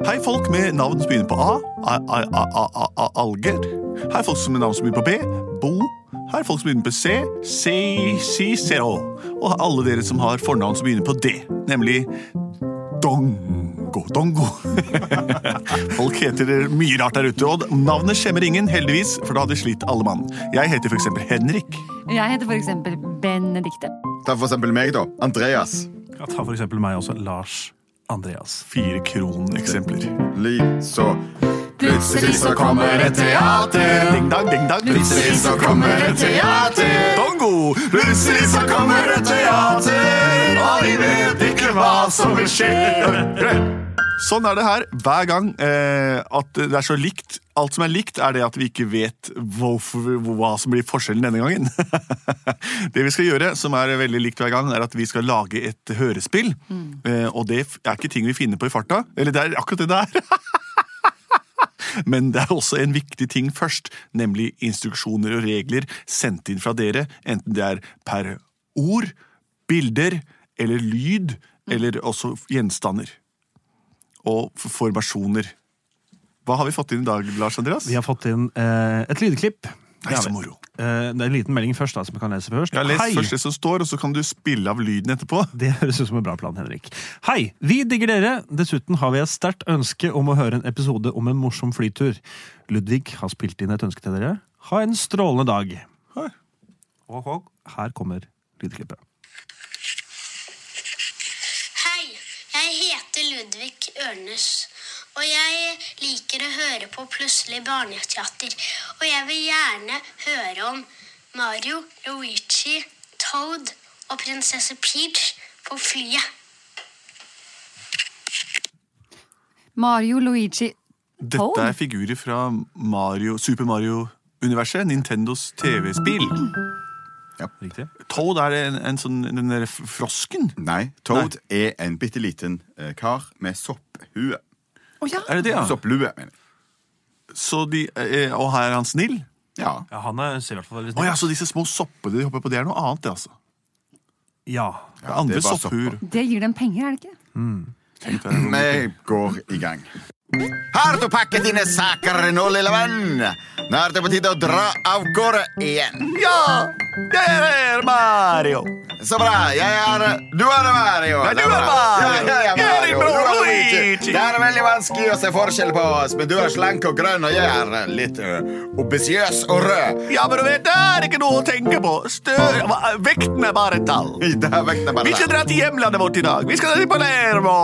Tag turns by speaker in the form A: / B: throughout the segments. A: Hei, folk med navn som begynner på A. a- a- a- a- a- a- Alger. Hei, folk som med navn som begynner på B. Bo. Hei, folk som begynner på C. C, C, C, O. Og alle dere som har fornavn som begynner på D, nemlig Dongo. Dongo. Folk heter mye rart der ute, og navnet skjemmer ingen, heldigvis, for da hadde slitt alle mann. Jeg heter f.eks. Henrik.
B: Jeg heter for eksempel Benedikte.
C: Ta for eksempel meg, da. Andreas.
D: Ja, ta for eksempel meg også. Lars Andreas.
A: Fire kroneksempler.
C: Likeså. Plutselig så kommer et teater.
A: Ding dang, ding dang.
C: Plutselig så kommer et teater.
A: Dongo!
C: Plutselig så kommer et teater, og vi vet ikke hva som vil skje.
A: Sånn er det her hver gang eh, at det er så likt. Alt som er likt, er det at vi ikke vet hvorfor, hva som blir forskjellen denne gangen. det vi skal gjøre, som er veldig likt hver gang, er at vi skal lage et hørespill. Eh, og det er ikke ting vi finner på i farta. Eller det er akkurat det det er. Men det er også en viktig ting først, nemlig instruksjoner og regler sendt inn fra dere, enten det er per ord, bilder eller lyd, eller også gjenstander. Og f- formasjoner. Hva har vi fått inn i dag, Lars Andreas?
D: Vi har fått inn eh, et lydklipp.
A: Nei, så moro.
D: Eh, det er en liten melding først, da, som vi kan lese først.
A: Jeg har lest
D: Hei!
A: først det som står, og så kan du spille av lyden etterpå.
D: Det høres ut som en bra plan, Henrik. Hei! Vi digger dere! Dessuten har vi et sterkt ønske om å høre en episode om en morsom flytur. Ludvig har spilt inn et ønske til dere. Ha en strålende dag! Og og her kommer lydklippet.
E: Hei, jeg heter Ludvig Ørnes, og jeg liker å høre på Plutselig barneteater. Og jeg vil gjerne høre om Mario, Luigi, Toad og prinsesse Peach på flyet.
B: Mario Luigi
A: Dette er figurer fra Mario, Super Mario-universet, Nintendos TV-spill.
D: Riktig?
A: Toad er en, en sånn den der f- frosken.
C: Nei, Toad er en bitte liten eh, kar med sopphue.
A: Er det det, ja?
C: Sopplue, mener jeg.
A: Så de, eh, og her er han snill.
C: Ja.
D: Ja, han er, ser i hvert fall veldig
A: Å ja, så disse små soppene de hopper på, det er noe annet, det, altså.
D: Ja.
A: Det er andre
C: det er bare
A: sopphuer.
B: Det gir dem penger, er det ikke?
A: Tenk deg det.
C: Vi går i gang. Har du pakket dine saker nå, lille venn? Nå er det på tide å dra av gårde igjen.
A: Ja! Der er Mario!
C: Så bra. Jeg er Du er Mario.
A: Ja, du
C: Det
A: er
C: bra.
A: Mario.
C: Ja, jeg er
A: Jeg er
C: Mario.
A: bror
C: Du er
A: Luigi.
C: Det er veldig vanskelig å se forskjell på oss, men du er slank og grønn, og jeg er eh, litt uh, obesiøs og rød.
A: Ja, men du vet, det er ikke noe å tenke på. Stø hva- Vekten er bare et tall.
C: I dag vekter bare
A: Vi skal dra til hjemlandet vårt i dag. Vi skal dra til Palermo.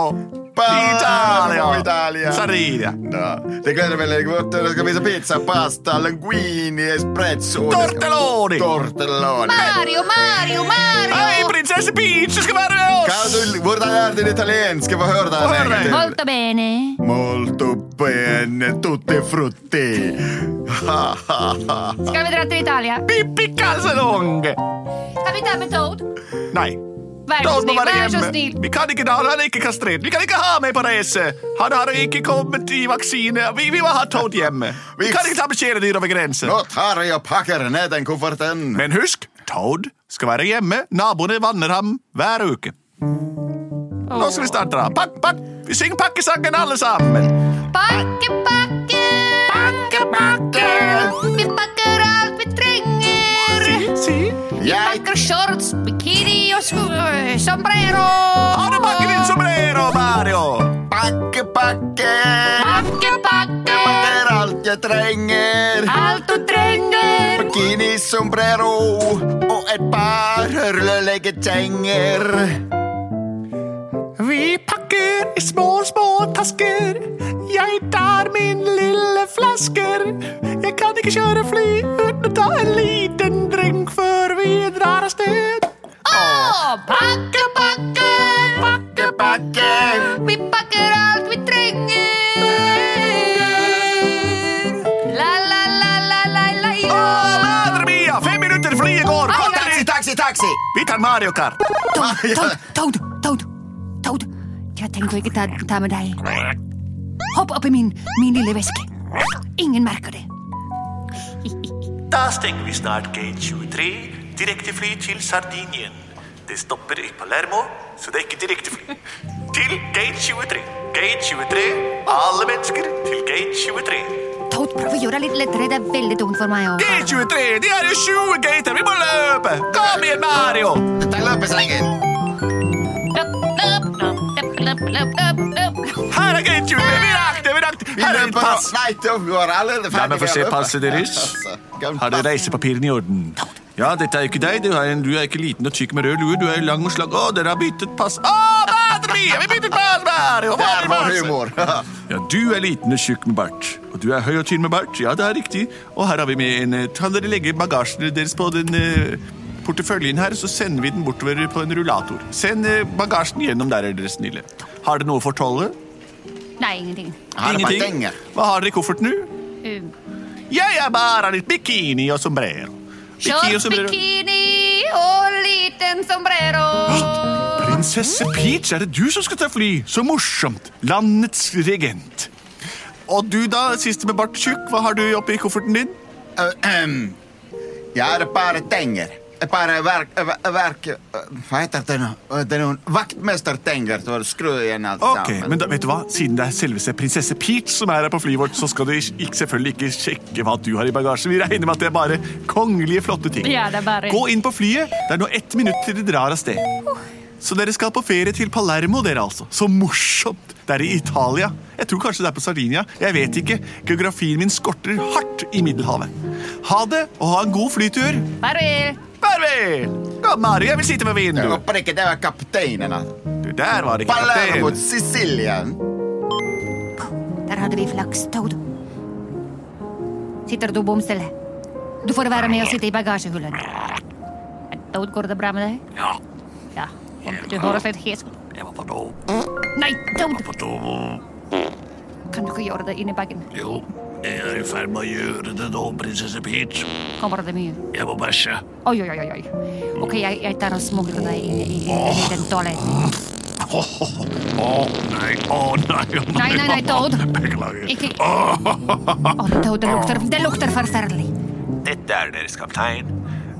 A: Italia.
C: Palermo, Italia.
A: Sardinia.
C: Ja, det gleder meg veldig godt. Det skal vise pizza, pasta, linguini, espresso
A: Tortelloni.
C: Tortelloni.
B: Mario, Mario,
A: Hei,
B: Mario!
A: prinsesse Peach, du skal være med
C: Kan
A: oss!
C: du, hvordan er din italienske? Få høre
A: Få høre det.
C: den. en gang til.
B: Molto bene.
C: Molto bene, tutti frutti. Ha, ha, ha.
B: Skal vi dra til Italia?
A: Pippi Casalonge.
B: Skal vi ta med Toad?
A: Nei.
B: Vær så
A: Toad må
B: snill,
A: være
B: vær så snill.
A: hjemme. Vi kan ikke da, han er ikke kastrert. Vi kan ikke ha med på reise. Han har ikke kommet i vaksine. Vi, vi må ha Toad hjemme. Vi
C: Vi-
A: kan ikke ta med kjæledyr over grensen.
C: Nå tar jeg og pakker ned den kofferten.
A: Men husk, Toad skal være hjemme. Naboene vanner ham hver uke. Nå skal vi snart dra. Pakk, pakk. Vi synger pakkesangen alle sammen.
B: Pakke, pakke. Pakke, pakke. Vi pakker alt vi trenger.
A: Si.
C: Jeg
B: Pakker shorts, bikini og sko sombrero.
A: Har du pakket din sombrero, Mario?
C: pakke, pakke.
B: Pakke, pakke.
C: Det er alt jeg trenger.
B: Alt du trenger.
C: Bikini, sombrero og et par hørleleggetenger.
A: Vi pakker i små, små tasker. Jeg tar min lille flasker. Jeg kan ikke kjøre fly uten å ta en liten drink før vi drar av sted.
B: Og pakke, pakke. Pakke,
C: Pakke.
B: Vi pakker alt vi trenger.
C: taxi!
A: Vi tar Mario Kart!
C: Ah, ja.
F: Toad, Toad, Toad, Toad. Jeg tenker ikke ta, ta med deg. Hopp oppi min, min lille veske. Ingen merker det.
G: Da stenger vi snart gate 23, direktefly til Sardinien. Det stopper i Palermo, så det er ikke direktefly. Til gate 23. Gate 23. Alle mennesker til gate 23.
F: Toad, prøv å gjøre det litt lettere. Det er veldig dumt for meg. å-
A: Det er 23! De er jo 20 gater! Vi må løpe! Kom igjen, Mario!
C: Ta løpeslangen!
A: Her er gate 23! Vi rakk det! Vi rakk det!
C: Vi
A: Her er ditt
C: løper nå.
A: pass!
C: Nei, da var allerede
A: La
C: ferdig. altså.
A: meg få se passet deres. Har dere reisepapirene i orden? Ja, dette er jo ikke deg. Du er, en, du er ikke liten og tykk med rød lue. Du er lang og slag. Å, dere har byttet pass. Å, batteriet! Vi byttet pass, Mario! Hva
C: Der
A: er
C: var
A: passet?
C: humor.
A: Ja, du er liten og tjukk med bart. Og du er høy og tynn med bart. Ja, det er riktig. Og her har vi med en eh, Kan dere legge bagasjen deres på den eh, porteføljen her, så sender vi den bortover på en rullator. Send eh, bagasjen gjennom der, er dere snille. Har dere noe for tollet?
F: Nei, ingenting.
C: Har det penger?
A: Hva har dere i kofferten nå?
F: Um,
A: Jeg er bare litt bikini og sombrero. Bikini og
B: Short
A: sombrero.
B: bikini og liten sombrero.
A: Prinsesse Peach, er det du som skal ta fly? Så morsomt! Landets regent. Og du da, siste med bart tjukk, hva har du oppi kofferten din?
C: Ahem. Jeg har et par penger. Et par verk... ver- verk eh, hva heter det nå? Eh, Det er noen vaktmestertenger. så Skru igjen alt
A: Ok,
C: sammen.
A: men da, vet du hva? Siden det er selveste prinsesse Peach som er her på flyet vårt, så skal du ikke, selvfølgelig ikke sjekke hva du har i bagasjen. Vi regner med at det er bare kongelige, flotte ting.
F: Ja, det er bare- Oh.
A: Gå inn på flyet. Det er nå ett minutt til de drar av sted. Så dere skal på ferie til Palermo, dere altså. Så morsomt! Det er i Italia. Jeg tror kanskje det er på Sardinia. Jeg vet ikke. Geografien min skorter hardt i Middelhavet. Ha det, og ha en god flytur.
B: Farvel.
A: Farvel! Kom, Mario, jeg vil sitte ved
C: Jeg
A: vinduet.
C: håper ikke det var kapteinen. altså.
A: Du, der var det ikke
C: Palermo,
A: kaptein.
C: Sicilia.
F: Der hadde vi flaks, Toad. Sitter du bom stille? Du får være med og sitte i bagasjehullet. Toad, går det bra med deg? Ja. ja. Du høres litt hes ut.
G: Jeg må på do.
F: Nei, Toad!
G: På do.
F: Kan du ikke gjøre det inni bagen?
G: Jo, jeg er i ferd med å gjøre det nå, prinsesse Peach.
F: Kommer det mye?
G: Jeg må bæsje.
F: Oi, oi, oi. oi. Ok, jeg, jeg tar og smugler deg inn i, i, inn i den toaletten.
G: Å nei, å nei, å
F: Nei, nei, nei, Toad.
G: Beklager.
F: Ikke Å, Toad, det lukter, det lukter forferdelig.
G: Dette er deres kaptein.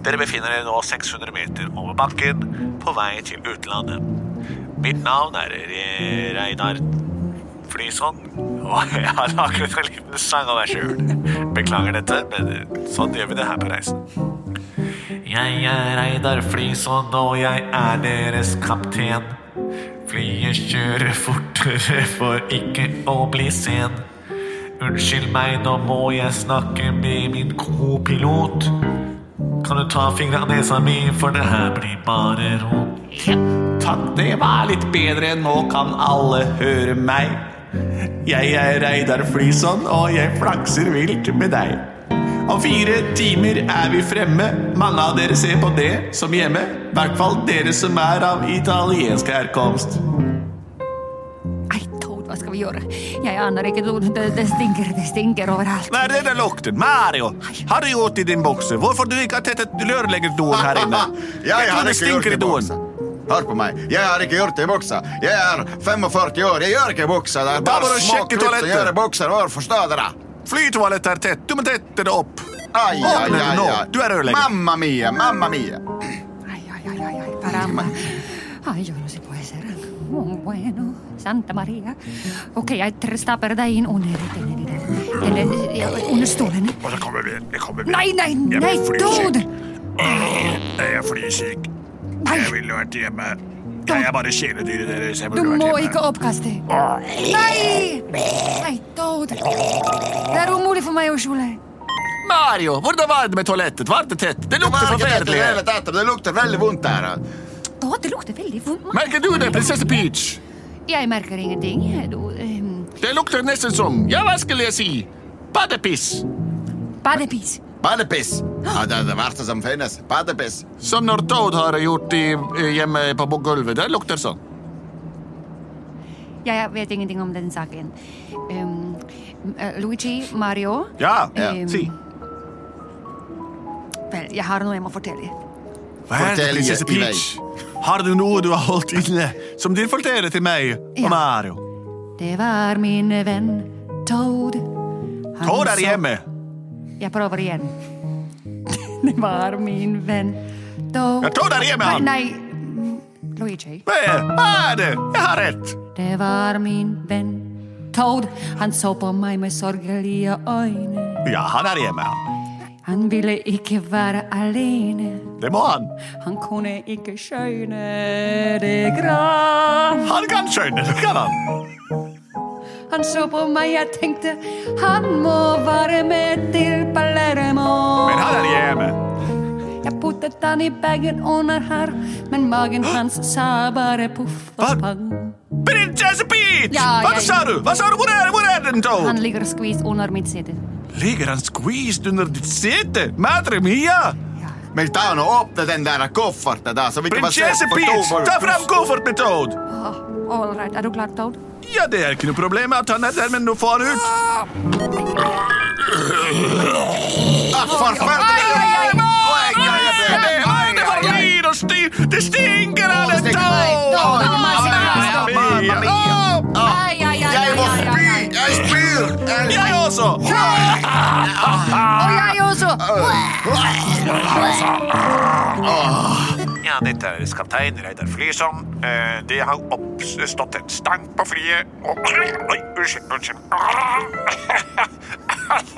G: Dere befinner dere nå 600 meter over bakken på vei til utlandet. Mitt navn er Re- Reinar Flyson, og jeg har laget en liten sang av meg sjøl. Beklager dette, men sånn gjør vi det her på reisen. Jeg er Reidar Flyson, og jeg er deres kaptein. Flyet kjører fortere for ikke å bli sen. Unnskyld meg, nå må jeg snakke med min kopilot. Kan du ta fingra av nesa mi, for det her blir bare rot.
A: Takk, det var litt bedre. Nå kan alle høre meg. Jeg er Reidar Flyson, og jeg flakser vilt med deg. Om fire timer er vi fremme. Mange av dere ser på det som hjemme. I hvert fall dere som er av italiensk herkomst.
F: Nei, Toad, hva skal vi gjøre? Jeg aner ikke, Toad. Det, det stinker, det stinker overalt.
A: Hva er det der lukter? Mario, har du gjort i din bukse? Hvorfor du ikke har tettet rørleggerdoen her inne?
C: Jeg har
A: tror det
C: ikke gjort
A: stinker
C: det
A: i
C: i
A: doen.
C: buksa. Hør på meg, jeg har ikke gjort det i buksa. Jeg er 45 år, jeg gjør ikke buksa. Det
A: Da
C: er
A: må
C: bare
A: du
C: små
A: sjekke
C: klipp som
A: toalettet.
C: gjør bukser vår, forstår dere?
A: Flytoalettet er tett. Du må tette det opp.
C: Ai, ai,
A: Åpne det
C: ai,
A: nå.
C: ai.
A: Du er rørlegger.
C: Mamma mia, mamma mia.
F: Ai, ai, ai, ai, ai, caramba. Ai, yo no sé puede ser. Oh, bueno, Santa Maria. Ok, jeg tr- stapper deg inn under denne, denne, denne, ja, under stolen.
G: Og så kommer vi. Jeg kommer vi.
F: Nei, nei,
G: Jeg
F: nei,
G: blir flysyk.
F: Toad!
G: Jeg er flysyk.
F: Nei,
G: Jeg ville vært hjemme. Jeg er bare kjæledyret deres. Jeg
F: du
G: burde
F: må
G: vært hjemme.
F: ikke oppkaste. Nei! Nei, Toad. Det er umulig for meg å skjule.
A: Mario, hvordan var det med toalettet? Var det tett? Det lukter
C: Merker dette i
A: forferdelig.
C: det hele tatt, Det lukter veldig vondt her.
F: Toad, det lukter veldig vondt.
A: Merker du det, prinsesse Peach?
F: Jeg merker ingenting. Du, ehm,
A: Det lukter nesten som Ja, hva skulle jeg si? Badepiss.
F: badepiss.
C: Badepiss. Ja, Ah, det er det verste som finnes. Badepiss.
A: Som når Toad har gjort i, eh, hjemme på gulvet. Det lukter sånn.
F: Jeg vet ingenting om den saken. Ehm, eh, Luigi, Mario
A: Ja,
F: ehm,
A: si.
F: Vel, jeg har noe jeg må fortelle.
A: Hva er det,
C: Fortell
A: prinsesse
C: i vei.
A: Peach? Har du noe du har holdt inne, som du forteller til meg og
F: Ja.
A: Mario?
F: Det var min venn Toad. Han
A: Tord
F: sa-
A: er hjemme.
F: Jeg prøver igjen. Det var min venn Toad.
A: Ja, Toad er hjemme, han.
F: Nei, nei. Luigi.
A: Hva er hva er det? Jeg har rett.
F: Det var min venn Toad. Han så på meg med sorgelige øyne.
A: Ja, han er hjemme. han.
F: Han ville ikke være alene.
A: Det må han.
F: Han kunne ikke skjønne det gram.
A: Han kan skjønne det, kan han.
F: Han så på meg, jeg tenkte han må være med til Palermo.
A: Men han er hjemme.
F: Jeg puttet han i bagen under her, men magen hans sa bare poff og
A: Hva?
F: pang.
A: Prinsesse Peach!
F: Ja,
A: Hva
F: jeg-
A: sa du? Hva sa du? Hvor er, hvor er den, Toad?
F: Han ligger skvist under mitt sete.
A: Ligger han squeezed under ditt sete? Madre mia!
F: Ja.
C: Men ta nå åpne den der kofferten, da, så vi ikke
A: Prinsesse Peach, ta fram kofferten med Toad!
F: Åh, all right, er du klar, Toad?
A: Ja, det er ikke noe problem at han er der, men nå får han ut.
C: Ah, forferdelig! Oi, oi, oi, oi,
A: Hva
C: oi,
A: er det
C: oi,
A: for
C: oi, oi.
A: lyd og styr? Det stinker av
C: Det
A: en
C: stikker meg.
A: Toad! Ah,
C: Oi,
A: Mamma
C: mamma mia.
A: mia! Å,
C: Ah,
F: Ai, ai, ai,
C: Jeg må
F: ai, ai,
C: spy!
F: ai.
C: Jeg spyr! Jeg-
A: Jeg også!
F: Og jeg også!
G: Ja, dette er kaptein Reidar Flysom. Eh, Det har oppstått en stank på flyet. Og... Oi, unnskyld, unnskyld.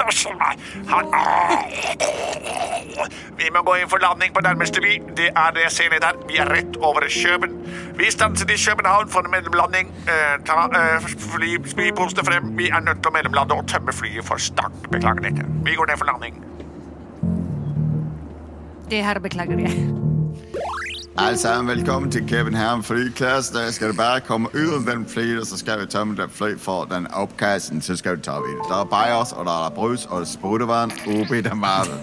G: Unnskyld meg. Han... Vi må gå inn for landing på nærmeste by. Det er det jeg ser ned her. Vi er rett over Kjøben. Vi stanset i København for en mellomlanding. Eh, Ta eh, fly, spyposene frem. Vi er nødt til å mellomlande og tømme flyet for stank. Beklager dette. Vi går ned for landing.
F: Det her beklager jeg.
C: Alle sammen, velkommen til København Flyklasse. Der skal du bare komme ud af den fly, og så skal vi tømme den fly for den opkassen, så skal vi tage videre. Der er bajers, og der er brus, og spruttevand, ubi i den varme.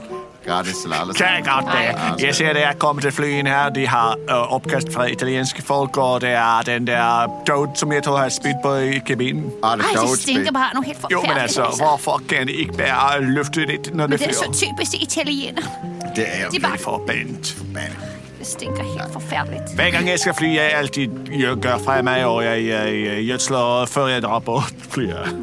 C: Gratis Altså. til alle
G: Det er
C: sammen.
G: godt, det.
B: altså.
G: Jeg ser det er kommet til flyene her. De har øh, opkast fra italienske folk, og det er den der toad, som jeg tror har spydt på i kabinen.
C: Og Ah, det
B: Ej,
C: er
B: det
C: dog
B: stinker bare af noget helt
G: Jo, men
B: forfærdeligt.
G: altså, hvorfor kan de ikke bare løfte lidt, når det
B: Det er så
G: flyver?
B: typisk italiener.
C: Det er jo
B: De
G: Det er forbandet.
B: Det stinker helt forfærdeligt.
G: Hver gang jeg skal fly, jeg altid jeg gør fremad, og jeg, jeg, jeg gjødsler, før jeg drar på flyet.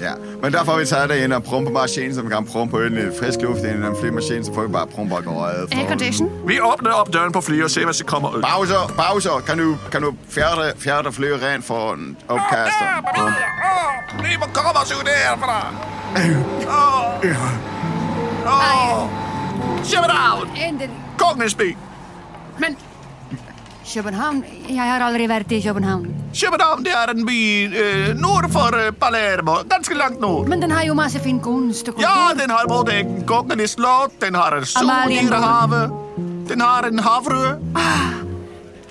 C: Ja, men der får vi taget det ind og prompemaskinen, som kan prompe ind i frisk luft ind i den flymaskine, så får vi bare prompe og gå røget. for-
B: Aircondition.
G: Vi åbner op døren på flyet og ser, hvad der kommer ud.
C: Pauser, pauser. Kan du, kan du fjerde, fjerde fly rent for en opkaster?
G: Vi må komme os ud herfra. Åh. København!
F: Endelig.
G: Kongens by!
F: Men København Jeg har aldri vært i København.
G: København det er en by eh, nord for eh, Palermo. Ganske langt nord.
F: Men den har jo masse fin kunst og
G: Ja,
F: kultur.
G: den har både en kongelig slott, den har en soldyrehavet, den har en havfrue.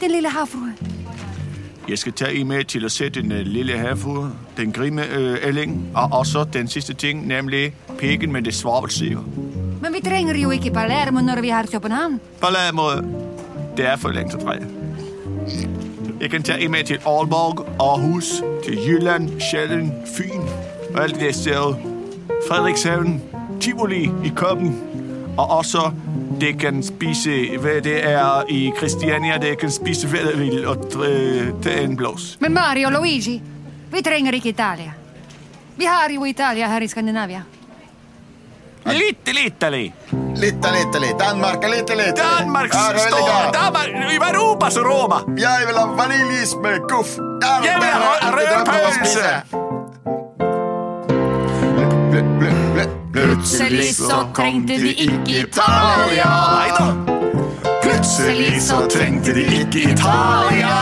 F: Den lille havfrue.
G: Jeg skal tage I med til at se den øh, lille havfrue, den grimme øh, ælling, og også den sidste ting, nemlig pikken med det svovlsiver.
F: Men vi trenger jo ikke Palermo når vi har København.
G: Palermo, det er for langt at dreje. Jeg kan tage I med til Aalborg, Aarhus, til Jylland, Sjælland, Fyn og alt det der sted. Frederikshavn, Tivoli i Køben. Og også, det kan spise, hvad det er i Christiania, det kan spise, hvad det vil, og øh, tage en blås.
F: Men Mario og Luigi, vi trenger ikke Italia. Vi har jo Italia her i Skandinavia.
G: Lidt, lidt, lidt.
C: Lidt og lidt og lidt. Danmark og lidt og lidt.
G: Danmarks
C: Ja, det er veldig
G: store,
C: godt.
G: Danmark, Europas Roma.
C: Jeg vil ha vaniljeis med guff. Der er
G: Jeg vil
C: der
G: ha
C: er
G: rød
C: der for å
G: pølse.
C: spise. Blø, blø, blø, blø.
F: Plutselig så trengte de ikke Italia.
G: Nei da.
C: Plutselig så trengte de ikke Italia.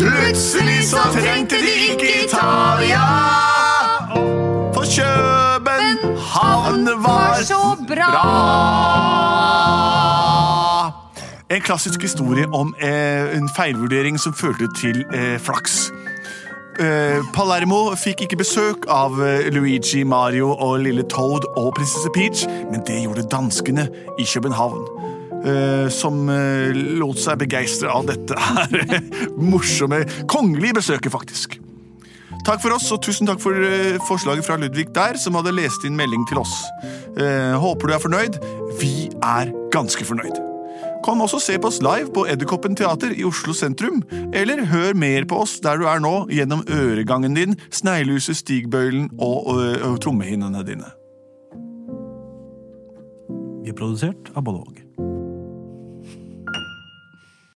C: Plutselig så trengte de ikke Italia.
G: For København var
F: så bra.
A: En klassisk historie om eh, en feilvurdering som førte til eh, flaks. Eh, Palermo fikk ikke besøk av eh, Luigi, Mario og lille Toad og prinsesse Peach, men det gjorde danskene i København. eh, som eh, lot seg begeistre av dette her morsomme kongelige besøket, faktisk. Takk for oss, og tusen takk for eh, forslaget fra Ludvig der, som hadde lest inn melding til oss. Eh, håper du er fornøyd. Vi er ganske fornøyd. Kom også se på oss live på Edderkoppen teater i Oslo sentrum, eller hør mer på oss der du er nå, gjennom øregangen din, sneglehuset, stigbøylen og, ø, ø, trommehinnene dine.
D: Vi er produsert av Bollevåg.